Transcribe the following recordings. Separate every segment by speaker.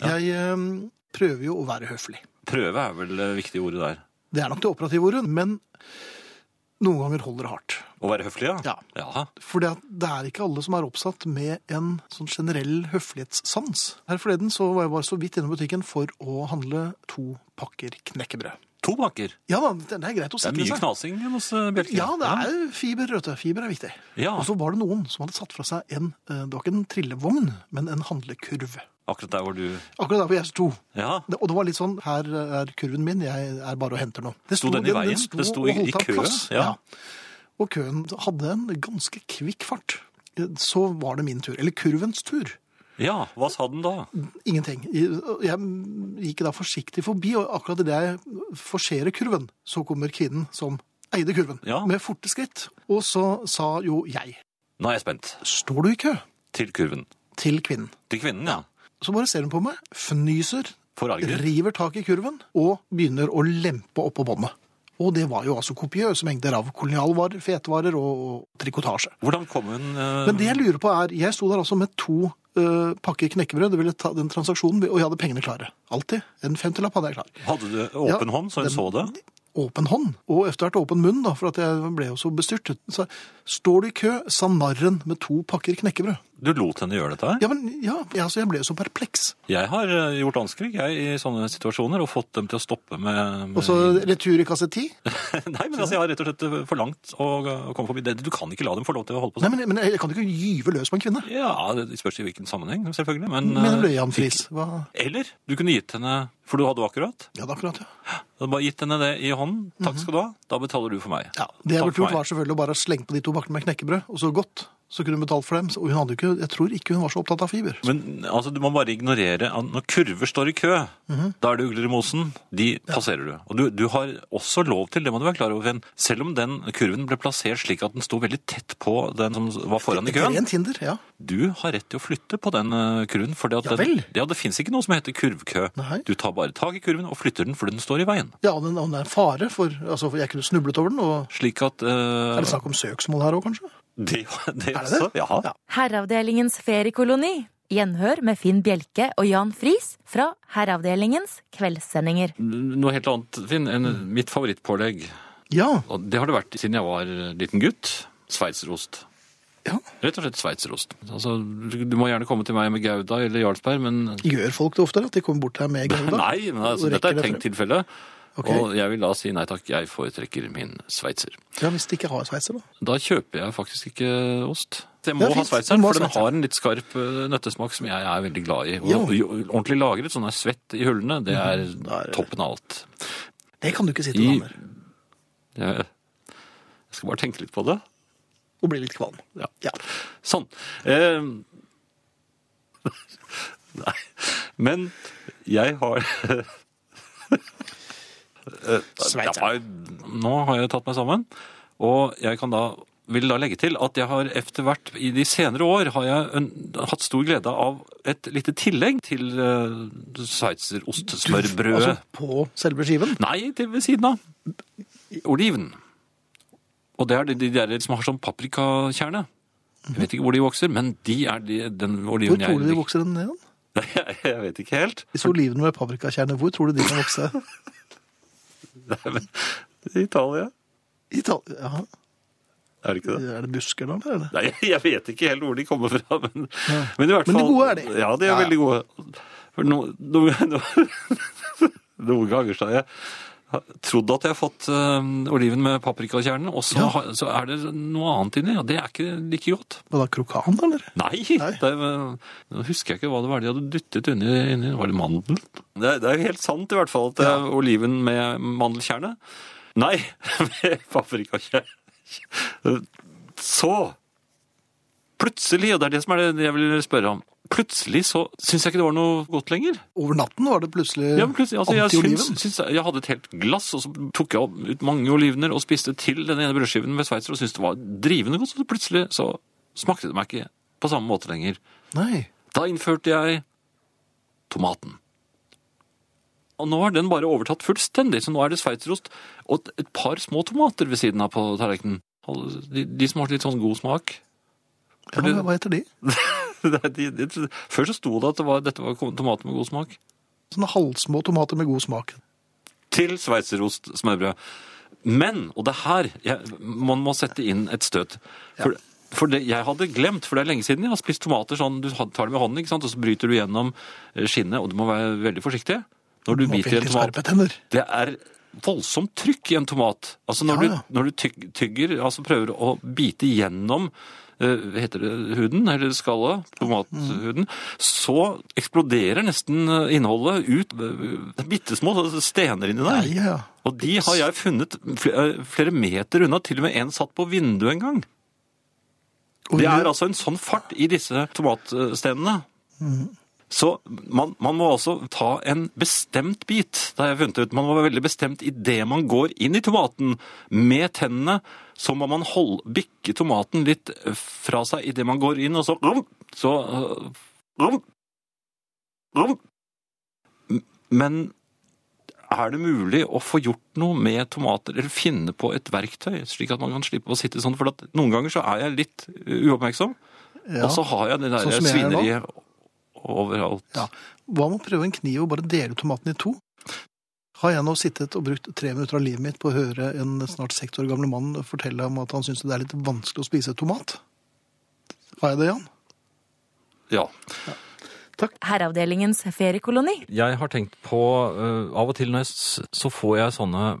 Speaker 1: Jeg eh, prøver jo å være høflig.
Speaker 2: Prøve er vel det viktige ordet der.
Speaker 1: Det er nok det operative ordet, men noen ganger holder det hardt.
Speaker 2: Å være høflig, ja.
Speaker 1: Ja.
Speaker 2: Jaha.
Speaker 1: For det er ikke alle som er oppsatt med en sånn generell høflighetssans. Her forleden så var jeg bare så vidt innom butikken for å handle to pakker knekkebrød.
Speaker 2: To bakker.
Speaker 1: Ja da, det er greit å
Speaker 2: Det er
Speaker 1: sikre
Speaker 2: mye knasing hos eh, Bjelke.
Speaker 1: Ja, det er fiber, vet du. Fiber er viktig.
Speaker 2: Ja.
Speaker 1: Og så var det noen som hadde satt fra seg en eh, Det var ikke en trillevogn, men en handlekurv.
Speaker 2: Akkurat der hvor du
Speaker 1: Akkurat der hvor jeg sto.
Speaker 2: Ja.
Speaker 1: Det- Og det var litt sånn Her er kurven min, jeg er bare og henter noe. Det
Speaker 2: Sto den i veien?
Speaker 1: sto
Speaker 2: Det sto
Speaker 1: og
Speaker 2: i-
Speaker 1: holdt
Speaker 2: i
Speaker 1: av
Speaker 2: kø?
Speaker 1: plass.
Speaker 2: Ja.
Speaker 1: Og køen hadde en ganske kvikk fart. Så var det min tur. Eller kurvens tur.
Speaker 2: ja. Hva sa den da?
Speaker 1: Ingenting. Jeg gikk da forsiktig forbi, og akkurat idet jeg forserer kurven, så kommer kvinnen som eide kurven,
Speaker 2: Ja.
Speaker 1: med forte skritt. Og så sa jo jeg
Speaker 2: Nå er jeg spent.
Speaker 1: Står du i kø?
Speaker 2: Til kurven.
Speaker 1: Til kvinnen.
Speaker 2: Til kvinnen, ja.
Speaker 1: Så bare ser hun på meg, fnyser,
Speaker 2: Forarget.
Speaker 1: river tak i kurven og begynner å lempe oppå båndet. Og det var jo altså kopiøse mengder av kolonialvarer, fetvarer og, og trikotasje.
Speaker 2: Hvordan kom hun eh,
Speaker 1: Men det jeg lurer på er, jeg sto der altså med to eh, pakker knekkebrød, det ville ta den transaksjonen, og jeg hadde pengene klare. Altid. En femtilapp hadde jeg klar.
Speaker 2: Hadde du åpen
Speaker 1: Ja,
Speaker 2: hånd, så hun
Speaker 1: den-
Speaker 2: så det?
Speaker 1: Åpen hånd, og etter hvert åpen munn, da, for at jeg ble jo så bestyrtet. Så står du i kø, sa narren med to pakker knekkebrød.
Speaker 2: Du lot henne gjøre dette? her?
Speaker 1: Ja, men ja, jeg- altså, jeg ble jo så perpleks.
Speaker 2: Jeg har eh, gjort anskrig jeg, i sånne situasjoner og fått dem til å stoppe med, med...
Speaker 1: Og så retur i kasse 10.
Speaker 2: Nei, men altså, jeg har rett og slett eh, forlangt å, å komme forbi. Det- Du kan ikke la dem få lov til å holde på
Speaker 1: Nei,
Speaker 2: sånn.
Speaker 1: men, men jeg kan jo ikke gyve løs på en kvinne.
Speaker 2: Ja, det spørs i hvilken sammenheng, selvfølgelig. Men,
Speaker 1: Men
Speaker 2: eh,
Speaker 1: ble han fris? Hva?
Speaker 2: Eller du kunne gitt henne For du hadde jo akkurat.
Speaker 1: Ja, det er akkurat, ja.
Speaker 2: Du hadde bare gitt henne det i hånden. Takk skal du ha. Da betaler du for meg.
Speaker 1: Mhm. ja det jeg
Speaker 2: Takk
Speaker 1: burde
Speaker 2: for
Speaker 1: gjort
Speaker 2: meg.
Speaker 1: var selvfølgelig å bare slenge på de to bakkene med knekkebrød, og så godt. Så kunne hun betalt for dem. Og hun hadde jo ikke, jeg tror ikke hun var så opptatt av fiber.
Speaker 2: Men altså, du må bare ignorere at når kurver står i kø,
Speaker 1: Mhm.
Speaker 2: da er det ugler i mosen. De passerer du. Og du, du har også lov til, det må du være klar over, Finn, selv om den kurven ble plassert slik at den sto veldig tett på den som var foran i køen,
Speaker 1: Rent hinder, ja.
Speaker 2: du har rett til å flytte på den eh, kurven. For det, at
Speaker 1: Ja
Speaker 2: den,
Speaker 1: vel.
Speaker 2: ja, det finnes ikke noe som heter kurvkø.
Speaker 1: Nei.
Speaker 2: Du tar bare tak i kurven og flytter den fordi den står i veien.
Speaker 1: Ja, og den, og den er en fare, for, altså, for jeg kunne snublet over den, og
Speaker 2: Slik at
Speaker 1: er det
Speaker 2: eh,
Speaker 1: snakk om søksmål her òg, kanskje?
Speaker 2: det, det,
Speaker 1: Er det
Speaker 2: også,
Speaker 1: det?
Speaker 2: ja.
Speaker 1: Ja.
Speaker 3: Herreavdelingens feriekoloni. Gjenhør med Finn Bjelke og Jan Friis fra Herreavdelingens kveldssendinger.
Speaker 2: Noe helt annet, Finn, enn mitt favorittpålegg.
Speaker 1: Ja.
Speaker 2: Og det har det vært siden jeg var liten gutt. Sveitserost.
Speaker 1: ja.
Speaker 2: Rett og slett sveitserost. Altså, du du må gjerne komme til meg med Gouda eller Jarlsberg, men
Speaker 1: Gjør folk det oftere, at de kommer bort her med gauda?
Speaker 2: Nei, men altså,
Speaker 1: Og
Speaker 2: dette er
Speaker 1: rekker
Speaker 2: et
Speaker 1: det
Speaker 2: tenkt tilfelle.
Speaker 1: Ok.
Speaker 2: Og jeg vil da si nei takk, jeg foretrekker min sveitser.
Speaker 1: Ja, Hvis de ikke har sveitser, da.
Speaker 2: Da kjøper jeg faktisk ikke ost. Så jeg
Speaker 1: Det
Speaker 2: må
Speaker 1: er
Speaker 2: ha
Speaker 1: fint.
Speaker 2: sveitseren,
Speaker 1: Du må ha
Speaker 2: for den
Speaker 1: sveitseren.
Speaker 2: har en litt skarp eh, nøttesmak som jeg er veldig glad i. Og,
Speaker 1: Ja. Mhm.
Speaker 2: og ordentlig lagret, sånn er svett i hullene, det er toppen av alt.
Speaker 1: Det kan du ikke si til
Speaker 2: I,
Speaker 1: damer.
Speaker 2: jeg, jeg skal bare tenke litt på det.
Speaker 1: Og bli litt kvalm.
Speaker 2: Ja.
Speaker 1: Ja.
Speaker 2: Sånn. Eh, nei. Men jeg har Eh,
Speaker 1: Sveitser.
Speaker 2: jeg har- Nå har jeg tatt meg sammen, og jeg kan da vil da legge til at jeg har efter hvert i de senere år har jeg en, hatt stor glede av et lite tillegg til uh, sveitserostsmørbrødet.
Speaker 1: Altså, på selve skiven.
Speaker 2: Nei, til ved siden av. Oliven. Og det er de, de der som har sånn paprikakjerne. Jeg vet ikke hvor de vokser, men de er de, den
Speaker 1: Hvor
Speaker 2: oliven jeg
Speaker 1: tror du de vokser den ned?
Speaker 2: Nei, jeg, jeg vet ikke helt.
Speaker 1: Disse olivene med paprikakjerne, hvor tror du de kan vokse?
Speaker 2: Nei, men, Italia.
Speaker 1: I Italia? Jaha.
Speaker 2: Er det ikke det?
Speaker 1: Er det busker da, eller?
Speaker 2: Nei, jeg vet ikke helt hvor de kommer fra, men, men i hvert
Speaker 1: Men
Speaker 2: fall
Speaker 1: de gode er de.
Speaker 2: Ja, de er
Speaker 1: Ja, ja.
Speaker 2: veldig gode. For no, no, no, noen ganger så har jeg trodd at jeg har fått eh, oliven med paprikakjernen, og så,
Speaker 1: Ja.
Speaker 2: har- så er det noe annet inni, og det er ikke like godt.
Speaker 1: Var det krokan, eller?
Speaker 2: Nei,
Speaker 1: Nei.
Speaker 2: Det, nå husker jeg ikke hva det var de hadde dyttet inni. inni var det mandel? Det, er- det er jo helt sant i hvert fall at det er oliven med mandelkjerne. Nei, med paprikakjerne. Så plutselig, og det er det som er det jeg vil spørre om, plutselig så syns jeg ikke det var noe godt lenger.
Speaker 1: Over natten var det plutselig
Speaker 2: Ja, men plutselig, altså, jeg,
Speaker 1: antioliven.
Speaker 2: syns- syns- jeg hadde et helt glass, og så tok jeg opp- ut mange olivener og spiste til den ene brødskiven med sveitser og syntes det var drivende godt, så plutselig så smakte det meg ikke på samme måte lenger.
Speaker 1: Nei.
Speaker 2: Da innførte jeg tomaten. Og nå har den bare overtatt fullstendig, så nå er det sveitserost og et- et par små tomater ved siden av på tallerkenen. De, de som har litt sånn god smak.
Speaker 1: Ja,
Speaker 2: det-
Speaker 1: hva heter de?
Speaker 4: Det er- de, de, før så sto det at det var, dette var tomater med god smak.
Speaker 1: Sånne halvsmå tomater med god smak.
Speaker 4: Til sveitserost smørbrød. Men, og det er her jeg, man må sette inn et støt. For, for det, jeg hadde glemt, for det er lenge siden jeg har spist tomater sånn, du tar det med hånden, ikke sant, og så bryter du gjennom eh, skinnet, og du må være veldig forsiktig når du
Speaker 1: Man
Speaker 4: biter i en
Speaker 1: veldig
Speaker 4: tomat.
Speaker 1: skarpe tenner.
Speaker 4: Det er voldsomt trykk i en tomat. Altså når
Speaker 1: Ja, ja.
Speaker 4: du, når du tyg, tygger, altså prøver å bite gjennom eh, hva heter det huden, eller skallet, tomathuden, så eksploderer nesten eh, innholdet ut. Det er bittesmå stener inni
Speaker 1: Ja,
Speaker 4: der.
Speaker 1: ja.
Speaker 4: Og de har jeg funnet fl- eh, flere meter unna, til og med en satt på vinduet en gang.
Speaker 1: Og
Speaker 4: Det er
Speaker 1: det-
Speaker 4: altså en sånn fart i disse tomatstenene. Så man, man må altså ta en bestemt bit, det har jeg funnet ut. Man må være veldig bestemt i det man går inn i tomaten. Med tennene så må man hold- bikke tomaten litt fra seg i det man går inn, og så Så øh, rum, rum. M- Men er det mulig å få gjort noe med tomater, eller finne på et verktøy, slik at man kan slippe å sitte sånn? For at noen ganger så er jeg litt øh, uoppmerksom,
Speaker 1: ja.
Speaker 4: og
Speaker 2: altså-
Speaker 4: så har jeg det der
Speaker 1: Sånn som jeg er nå.
Speaker 4: svineriet overalt.
Speaker 1: Ja. Hva med å prøve en kniv og bare dele tomaten i to? Har jeg nå sittet og brukt tre minutter av livet mitt på å høre en snart seks år gamle mann fortelle om at han syns det er litt vanskelig å spise tomat? Har jeg det, Jan?
Speaker 4: Ja.
Speaker 3: Herreavdelingens feriekoloni.
Speaker 2: Jeg har tenkt på eh, Av og til når jeg s- så får jeg sånne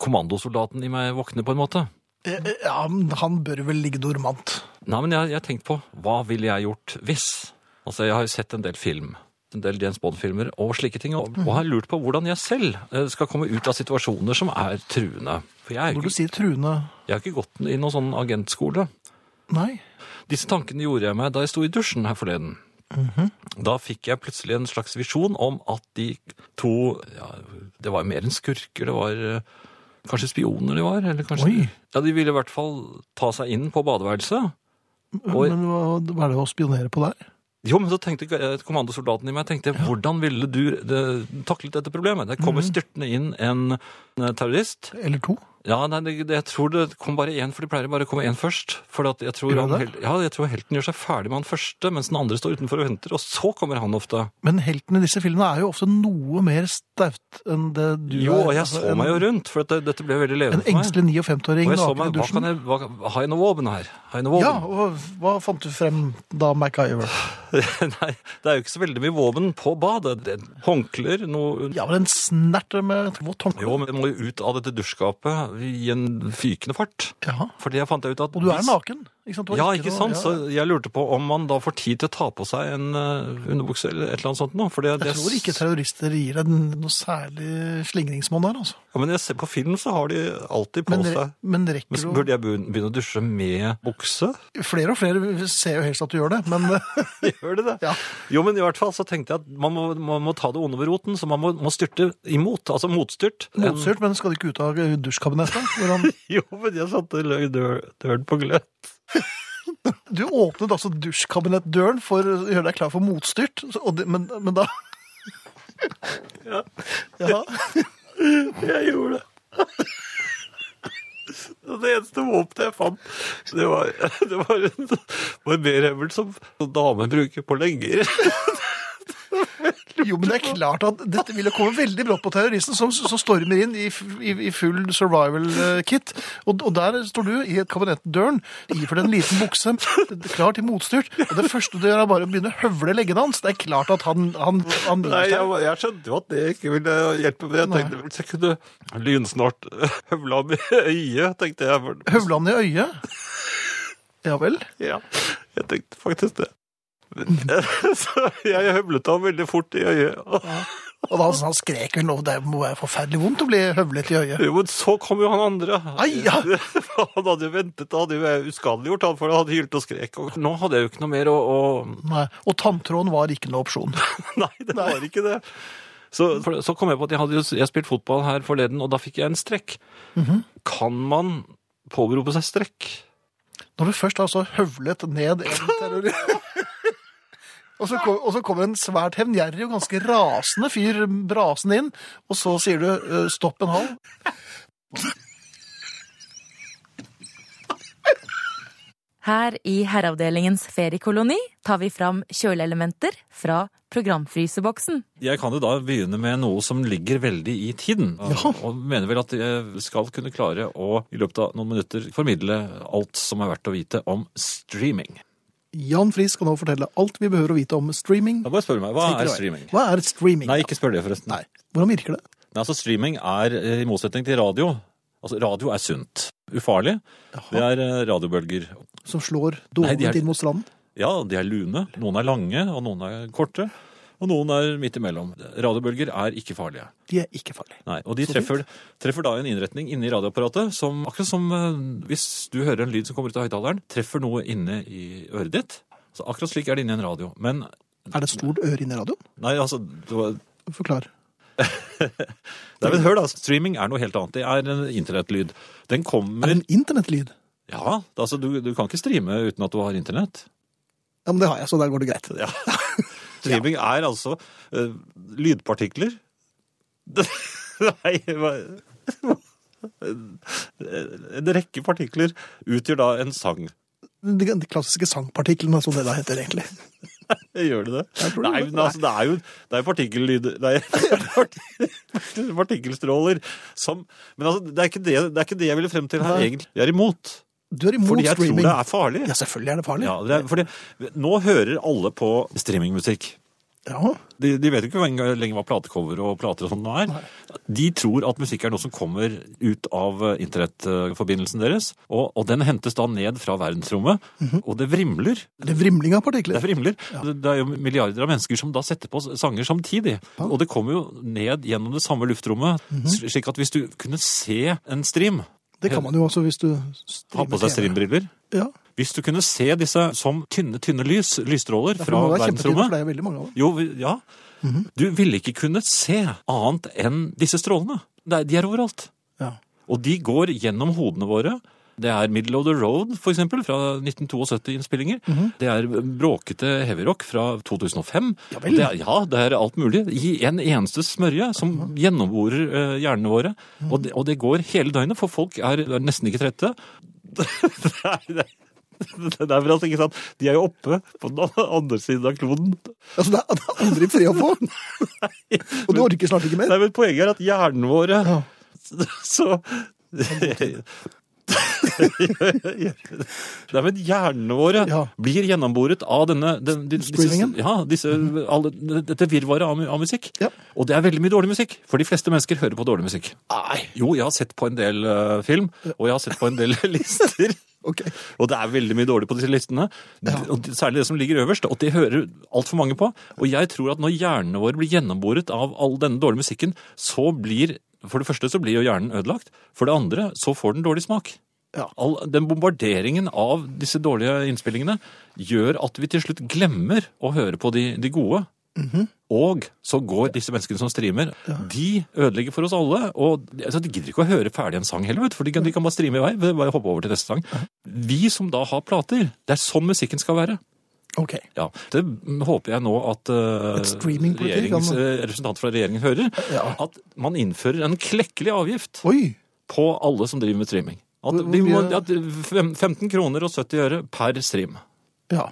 Speaker 2: Kommandosoldaten i meg våkne, på en måte.
Speaker 1: Eh, eh, Ja, men han bør vel ligge dormant.
Speaker 2: Nei, men jeg jeg har tenkt på hva ville jeg gjort hvis? Altså, jeg har jo sett en del film, en del James Bond-filmer og slike ting, og, og har lurt på hvordan jeg selv eh, skal komme ut av situasjoner som er truende. For jeg har
Speaker 1: Når du
Speaker 2: ikke,
Speaker 1: sier truende
Speaker 2: jeg har ikke gått i noen sånn agentskole.
Speaker 1: Nei.
Speaker 2: Disse tankene gjorde jeg meg da jeg sto i dusjen her forleden.
Speaker 1: Mhm.
Speaker 2: Da fikk jeg plutselig en slags visjon om at de to ja, Det var mer enn skurker, det var eh, kanskje spioner de var. Eller kanskje,
Speaker 1: Oi.
Speaker 2: Ja, De ville i hvert fall ta seg inn på badeværelset. Oi.
Speaker 1: Men hva, hva er det å spionere på der?
Speaker 2: Jo, men så tenkte eh, kommandosoldaten i meg, tenkte, jeg, hvordan ville du eh, taklet dette problemet? Det
Speaker 1: Mhm.
Speaker 2: kommer styrtende inn en eh, terrorist.
Speaker 1: Eller to?
Speaker 2: Ja, nei, det, det, jeg tror det kom bare én, for de pleier bare å komme én først. For at jeg, tror
Speaker 1: Gjør
Speaker 2: han,
Speaker 1: det?
Speaker 2: hel- ja, jeg tror helten gjør seg ferdig med han første, mens den andre står utenfor og venter, og så kommer han ofte.
Speaker 1: Men heltene i disse filmene er jo ofte noe mer staut enn det du
Speaker 2: Jo,
Speaker 1: er.
Speaker 2: og jeg
Speaker 1: Altså,
Speaker 2: så
Speaker 1: en-
Speaker 2: meg jo rundt, for at det, dette ble veldig
Speaker 1: En
Speaker 2: levende for meg.
Speaker 1: engstelig
Speaker 2: Og
Speaker 1: 59-åring
Speaker 2: jeg så
Speaker 1: naken i
Speaker 2: meg, hva
Speaker 1: dusjen.
Speaker 2: kan jeg, hva, har jeg noe våpen her? Har jeg noe
Speaker 1: Ja,
Speaker 2: våpen?
Speaker 1: og hva fant du frem da, MacGyver?
Speaker 2: Nei, det er jo ikke så veldig mye våpen på badet. Det er Håndklær, noe
Speaker 1: Ja, men en snert med et vått håndkle.
Speaker 2: Jo, men jeg må jo ut av dette dusjskapet i en fykende fart.
Speaker 1: Ja.
Speaker 2: For det fant jeg ut at
Speaker 1: Og du er
Speaker 2: hvis-
Speaker 1: naken. Ikke sant? Du har
Speaker 2: Ja, ikke sant?
Speaker 1: noe- ja, ja.
Speaker 2: Så jeg lurte på om man da får tid til å ta på seg en eh, underbukse eller et eller annet sånt nå. For det,
Speaker 1: Jeg
Speaker 2: det-
Speaker 1: tror ikke terrorister gir deg noe særlig slingringsmonn her, altså.
Speaker 2: Ja, men jeg ser på film, så har de alltid på
Speaker 1: Men,
Speaker 2: seg
Speaker 1: re men
Speaker 2: men så
Speaker 1: rekker
Speaker 2: burde jeg begyn- begynne å dusje med bukse?
Speaker 1: du Flere og flere ser jo helst at du gjør det, men eh,
Speaker 2: Gjør de det?
Speaker 1: ja.
Speaker 2: Jo, men i hvert fall så tenkte jeg at man må, man må ta det onde ved roten, så man må, må styrte imot. Altså motstyrt. En-
Speaker 1: Motstyrt, men skal du ikke ut av dusjkabinettet? Hvordan-
Speaker 2: Jo, men jeg satte lø- dør- døren på gløtt.
Speaker 1: Du åpnet altså dusjkabinettdøren for å gjøre deg klar for motstyrt, og det, men, men da Ja.
Speaker 2: Jeg gjorde det. Og Det eneste våpenet jeg fant, det var, det var en barberhemmel som damer bruker på legger.
Speaker 1: Jo, men det er klart at dette ville komme veldig brått på terroristen, som, som stormer inn i, f- i, i full survival-kit. Og, og der står du i kabinettdøren, iført en liten bukse, klar til motstyrt. Og det første du gjør, er bare å begynne å høvle leggene hans. Det er klart at han, han, han
Speaker 2: Nei, jeg, var- jeg skjønte jo at det ikke ville hjelpe, men jeg tenkte hvis jeg kunne lynsnart høvla ham i øyet, tenkte jeg. For,
Speaker 1: Høvle han i øyet. Ja vel.
Speaker 2: ja, jeg tenkte faktisk det. Men- Så jeg høvlet ham veldig fort i øyet.
Speaker 1: Og da han, han skrek vel nå, det må være forferdelig vondt å bli høvlet i øyet.
Speaker 2: Jo, men så kom jo han andre.
Speaker 1: Ai, ja.
Speaker 2: Han hadde jo ventet, han hadde jo uskadeliggjort han, for han hadde hylt og skrek. Og nå hadde jeg jo ikke noe mer å, å...
Speaker 1: Nei, og tanntråden var ikke noe opsjon.
Speaker 2: Nei, det var ikke det. Så, for, så kom jeg på at jeg hadde jo jeg spilt fotball her forleden, og da fikk jeg en strekk. Mhm. Kan man påberope seg strekk?
Speaker 1: Når du først har så høvlet ned en terrorist og, så kom, og så kommer en svært hevngjerrig og ganske rasende fyr brasende inn, og så sier du eh, 'stopp en halv'.
Speaker 3: Her i Herreavdelingens feriekoloni tar vi fram kjøleelementer fra programfryseboksen.
Speaker 2: Jeg kan jo da begynne med noe som ligger veldig i tiden. Og mener vel at jeg skal kunne klare å i løpet av noen minutter formidle alt som er verdt å vite om streaming.
Speaker 1: Jan Friis skal nå fortelle alt vi behøver å vite om streaming.
Speaker 2: Da bare spør du meg, hva
Speaker 1: Snikker
Speaker 2: er
Speaker 1: og vei.
Speaker 2: streaming?
Speaker 1: Hva er streaming?
Speaker 2: Nei, ikke spør det forresten.
Speaker 1: Nei. Hvordan virker det?
Speaker 2: Nei, altså Streaming er, eh, i motsetning til radio Altså, radio er sunt. Ufarlig. Det er eh, radiobølger.
Speaker 1: Som slår
Speaker 2: Nei, de
Speaker 1: dårlig
Speaker 2: er-
Speaker 1: inn mot stranden?
Speaker 2: Ja, de er lune. Noen er lange, og noen er korte. Og noen er midt imellom. Radiobølger er ikke farlige.
Speaker 1: De er ikke farlige.
Speaker 2: Nei, Og de
Speaker 1: Så
Speaker 2: treffer, treffer da en innretning inni radioapparatet som akkurat som eh, hvis du hører en lyd som kommer ut av høyttaleren, treffer noe inne i øret ditt. Så akkurat slik er det inni en radio. Men
Speaker 1: Er det et stort øre inne i radioen?
Speaker 2: nei, altså det var-
Speaker 1: Forklar.
Speaker 2: Nei, men hør da, Streaming er noe helt annet. Det er en internettlyd. Den
Speaker 1: Er
Speaker 2: kommer
Speaker 1: det en internettlyd?
Speaker 2: Ja, altså du, du kan ikke streame uten at du har internett.
Speaker 1: Ja, men det har jeg, så der går det greit.
Speaker 2: Ja. Streaming er altså eh, lydpartikler Nei, hva En rekke partikler utgjør da en sang.
Speaker 1: De, de klassiske sangpartiklene, som det da heter egentlig.
Speaker 2: Gjør det det?
Speaker 1: tror det.
Speaker 2: Nei, men altså, det er jo det er partikkellyd Nei, parti- partikkelstråler som Men altså, det er ikke det, det, er ikke det jeg ville frem til her,
Speaker 1: Nei.
Speaker 2: egentlig. Jeg er imot.
Speaker 1: Du er imot
Speaker 2: Fordi jeg
Speaker 1: streaming.
Speaker 2: tror det er farlig.
Speaker 1: Ja, selvfølgelig er det farlig.
Speaker 2: Ja, det er, fordi, nå hører alle på streamingmusikk.
Speaker 1: Ja.
Speaker 2: De, de vet jo ikke engang lenger hva platecover og plater og sånn er. De tror at musikk er noe som kommer ut av eh, internettforbindelsen deres. Og, og den hentes da ned fra verdensrommet,
Speaker 1: Mhm.
Speaker 2: og det vrimler.
Speaker 1: Det er vrimling av
Speaker 2: Det
Speaker 1: partikler.
Speaker 2: vrimler. Det, det er jo milliarder av mennesker som da setter på sanger samtidig. Og det kommer jo ned gjennom det samme luftrommet,
Speaker 1: Mhm.
Speaker 2: sl- slik at hvis du kunne se en stream,
Speaker 1: Det kan man jo også hvis du
Speaker 2: ha på seg
Speaker 1: streamer TV.
Speaker 2: streambriller
Speaker 1: Ja,
Speaker 2: Hvis du kunne se disse som tynne, tynne lys, lysstråler
Speaker 1: det må
Speaker 2: fra
Speaker 1: være kjempetid, for
Speaker 2: verdensrommet
Speaker 1: det er veldig mange av dem.
Speaker 2: Jo, vi- ja. Du ville ikke kunnet se annet enn disse strålene. Nei, De er overalt.
Speaker 1: Ja.
Speaker 2: Og de går gjennom hodene våre. Det er Middle of the Road, for eksempel, fra 1972-innspillinger. Det er bråkete heavyrock fra 2005.
Speaker 1: Ja vel.
Speaker 2: Det er, ja, det er alt mulig. I en eneste smørje som gjennomborer eh, hjernene våre. Og, det, og det går hele døgnet, for folk er, er nesten ikke trette. Nei, det er det er vel altså ikke sant. De er jo oppe på den andre siden av kloden.
Speaker 1: Altså, det er, det er aldri fred å få. Og du orker snart ikke mer.
Speaker 2: Nei, men poenget er at hjernen våre
Speaker 1: Ja.
Speaker 2: Så Nei, men hjernene våre
Speaker 1: Ja.
Speaker 2: blir gjennomboret av denne den, de, disse,
Speaker 1: Streamingen?
Speaker 2: ja, disse, alle, dette virvaret av, mu- av musikk.
Speaker 1: Ja.
Speaker 2: Og det er veldig mye dårlig musikk, for de fleste mennesker hører på dårlig musikk.
Speaker 1: Nei.
Speaker 2: Jo, jeg har sett på en del eh, film, og jeg har sett på en del lister.
Speaker 1: Ok.
Speaker 2: Og det er veldig mye dårlig på disse listene. Og det- Særlig det som ligger øverst, og det hører altfor mange på. Og jeg tror at når hjernene våre blir gjennomboret av all denne dårlige musikken, så blir For det første så blir jo hjernen ødelagt. For det andre så får den dårlig smak.
Speaker 1: Ja.
Speaker 2: All, den bombarderingen av disse dårlige innspillingene gjør at vi til slutt glemmer å høre på de, de gode.
Speaker 1: Mhm.
Speaker 2: Og så går disse menneskene som streamer, de ødelegger for oss alle. Og altså, de gidder ikke å høre ferdig en sang heller, vet du, for de kan, de kan bare streame i vei. Bare hoppe over til neste sang. Vi som da har plater, det er sånn musikken skal være.
Speaker 1: Ok.
Speaker 2: Ja, Det håper jeg nå at eh,
Speaker 1: Et streamingpolitikk,
Speaker 2: regjerings-
Speaker 1: kan man-
Speaker 2: eh, representanter fra regjeringen hører.
Speaker 1: Ja.
Speaker 2: At man innfører en klekkelig avgift
Speaker 1: Oi.
Speaker 2: på alle som driver med streaming. At
Speaker 1: Hvor- hvor
Speaker 2: vi må,
Speaker 1: mye-
Speaker 2: at fem- 15 kroner og 70 øre per stream.
Speaker 1: Ja.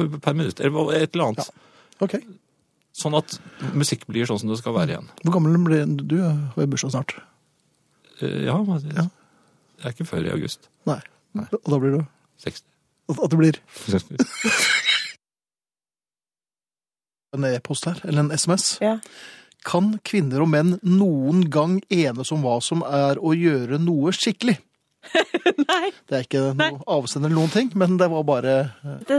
Speaker 2: Per, per minutt. Eller et eller annet.
Speaker 1: Ok.
Speaker 2: Sånn at musikk blir sånn som det skal være igjen.
Speaker 1: Hvor gammel ble du? Du har jo bursdag snart.
Speaker 2: Eh, Ja, men det det er ikke før i august.
Speaker 1: Nei. Og da blir du
Speaker 2: 60.
Speaker 1: At det blir en e-post her, eller en SMS.
Speaker 3: Ja.
Speaker 1: Kan kvinner og menn noen gang enes om hva som er å gjøre noe skikkelig?
Speaker 5: Nei,
Speaker 1: Det er ikke noe avsender eller noen ting, men det var bare
Speaker 5: det,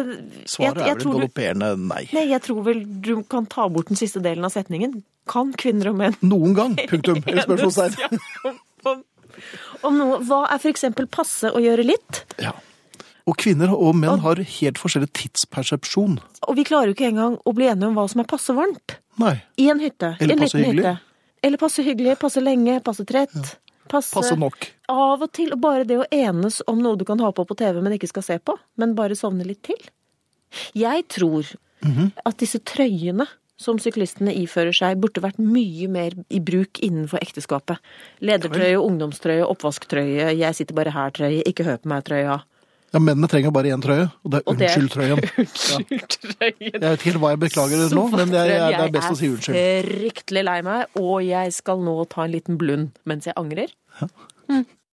Speaker 1: Svaret
Speaker 5: jeg, jeg
Speaker 1: er vel
Speaker 5: tror
Speaker 1: en
Speaker 5: du,
Speaker 1: galopperende nei.
Speaker 5: Nei, jeg tror vel du kan ta bort den siste delen av setningen. Kan kvinner og menn
Speaker 1: Noen gang, punktum. Eller spørsmålstegn.
Speaker 5: enes om- om- Om noe. Hva er for eksempel passe å gjøre litt?
Speaker 1: Ja. Og kvinner og menn har helt forskjellig tidspersepsjon.
Speaker 5: Og vi klarer jo ikke engang å bli enige om hva som er passe varmt.
Speaker 1: Nei.
Speaker 5: I en hytte.
Speaker 1: Eller
Speaker 5: en
Speaker 1: passe
Speaker 5: liten
Speaker 1: hyggelig.
Speaker 5: hytte. Eller passe hyggelig, passe lenge, passe trett. Passe,
Speaker 1: Passe nok.
Speaker 5: Av og til. Og bare det å enes om noe du kan ha på på TV, men ikke skal se på. Men bare sovne litt til. Jeg tror
Speaker 1: Mhm.
Speaker 5: at disse trøyene som syklistene ifører seg, burde vært mye mer i bruk innenfor ekteskapet. Ledertrøye, ungdomstrøye, oppvasktrøye, jeg sitter bare her-trøye, ikke hør på meg-trøya.
Speaker 1: Ja, mennene trenger bare én trøye, og det er
Speaker 5: Og det er-
Speaker 1: unnskyld-trøyen.
Speaker 5: Unnskyld, trøyen.
Speaker 1: Jeg vet ikke helt hva jeg beklager nå, men det er, det er best å si unnskyld.
Speaker 5: Jeg er fryktelig lei meg, og jeg skal nå ta en liten blund mens jeg angrer. Mm.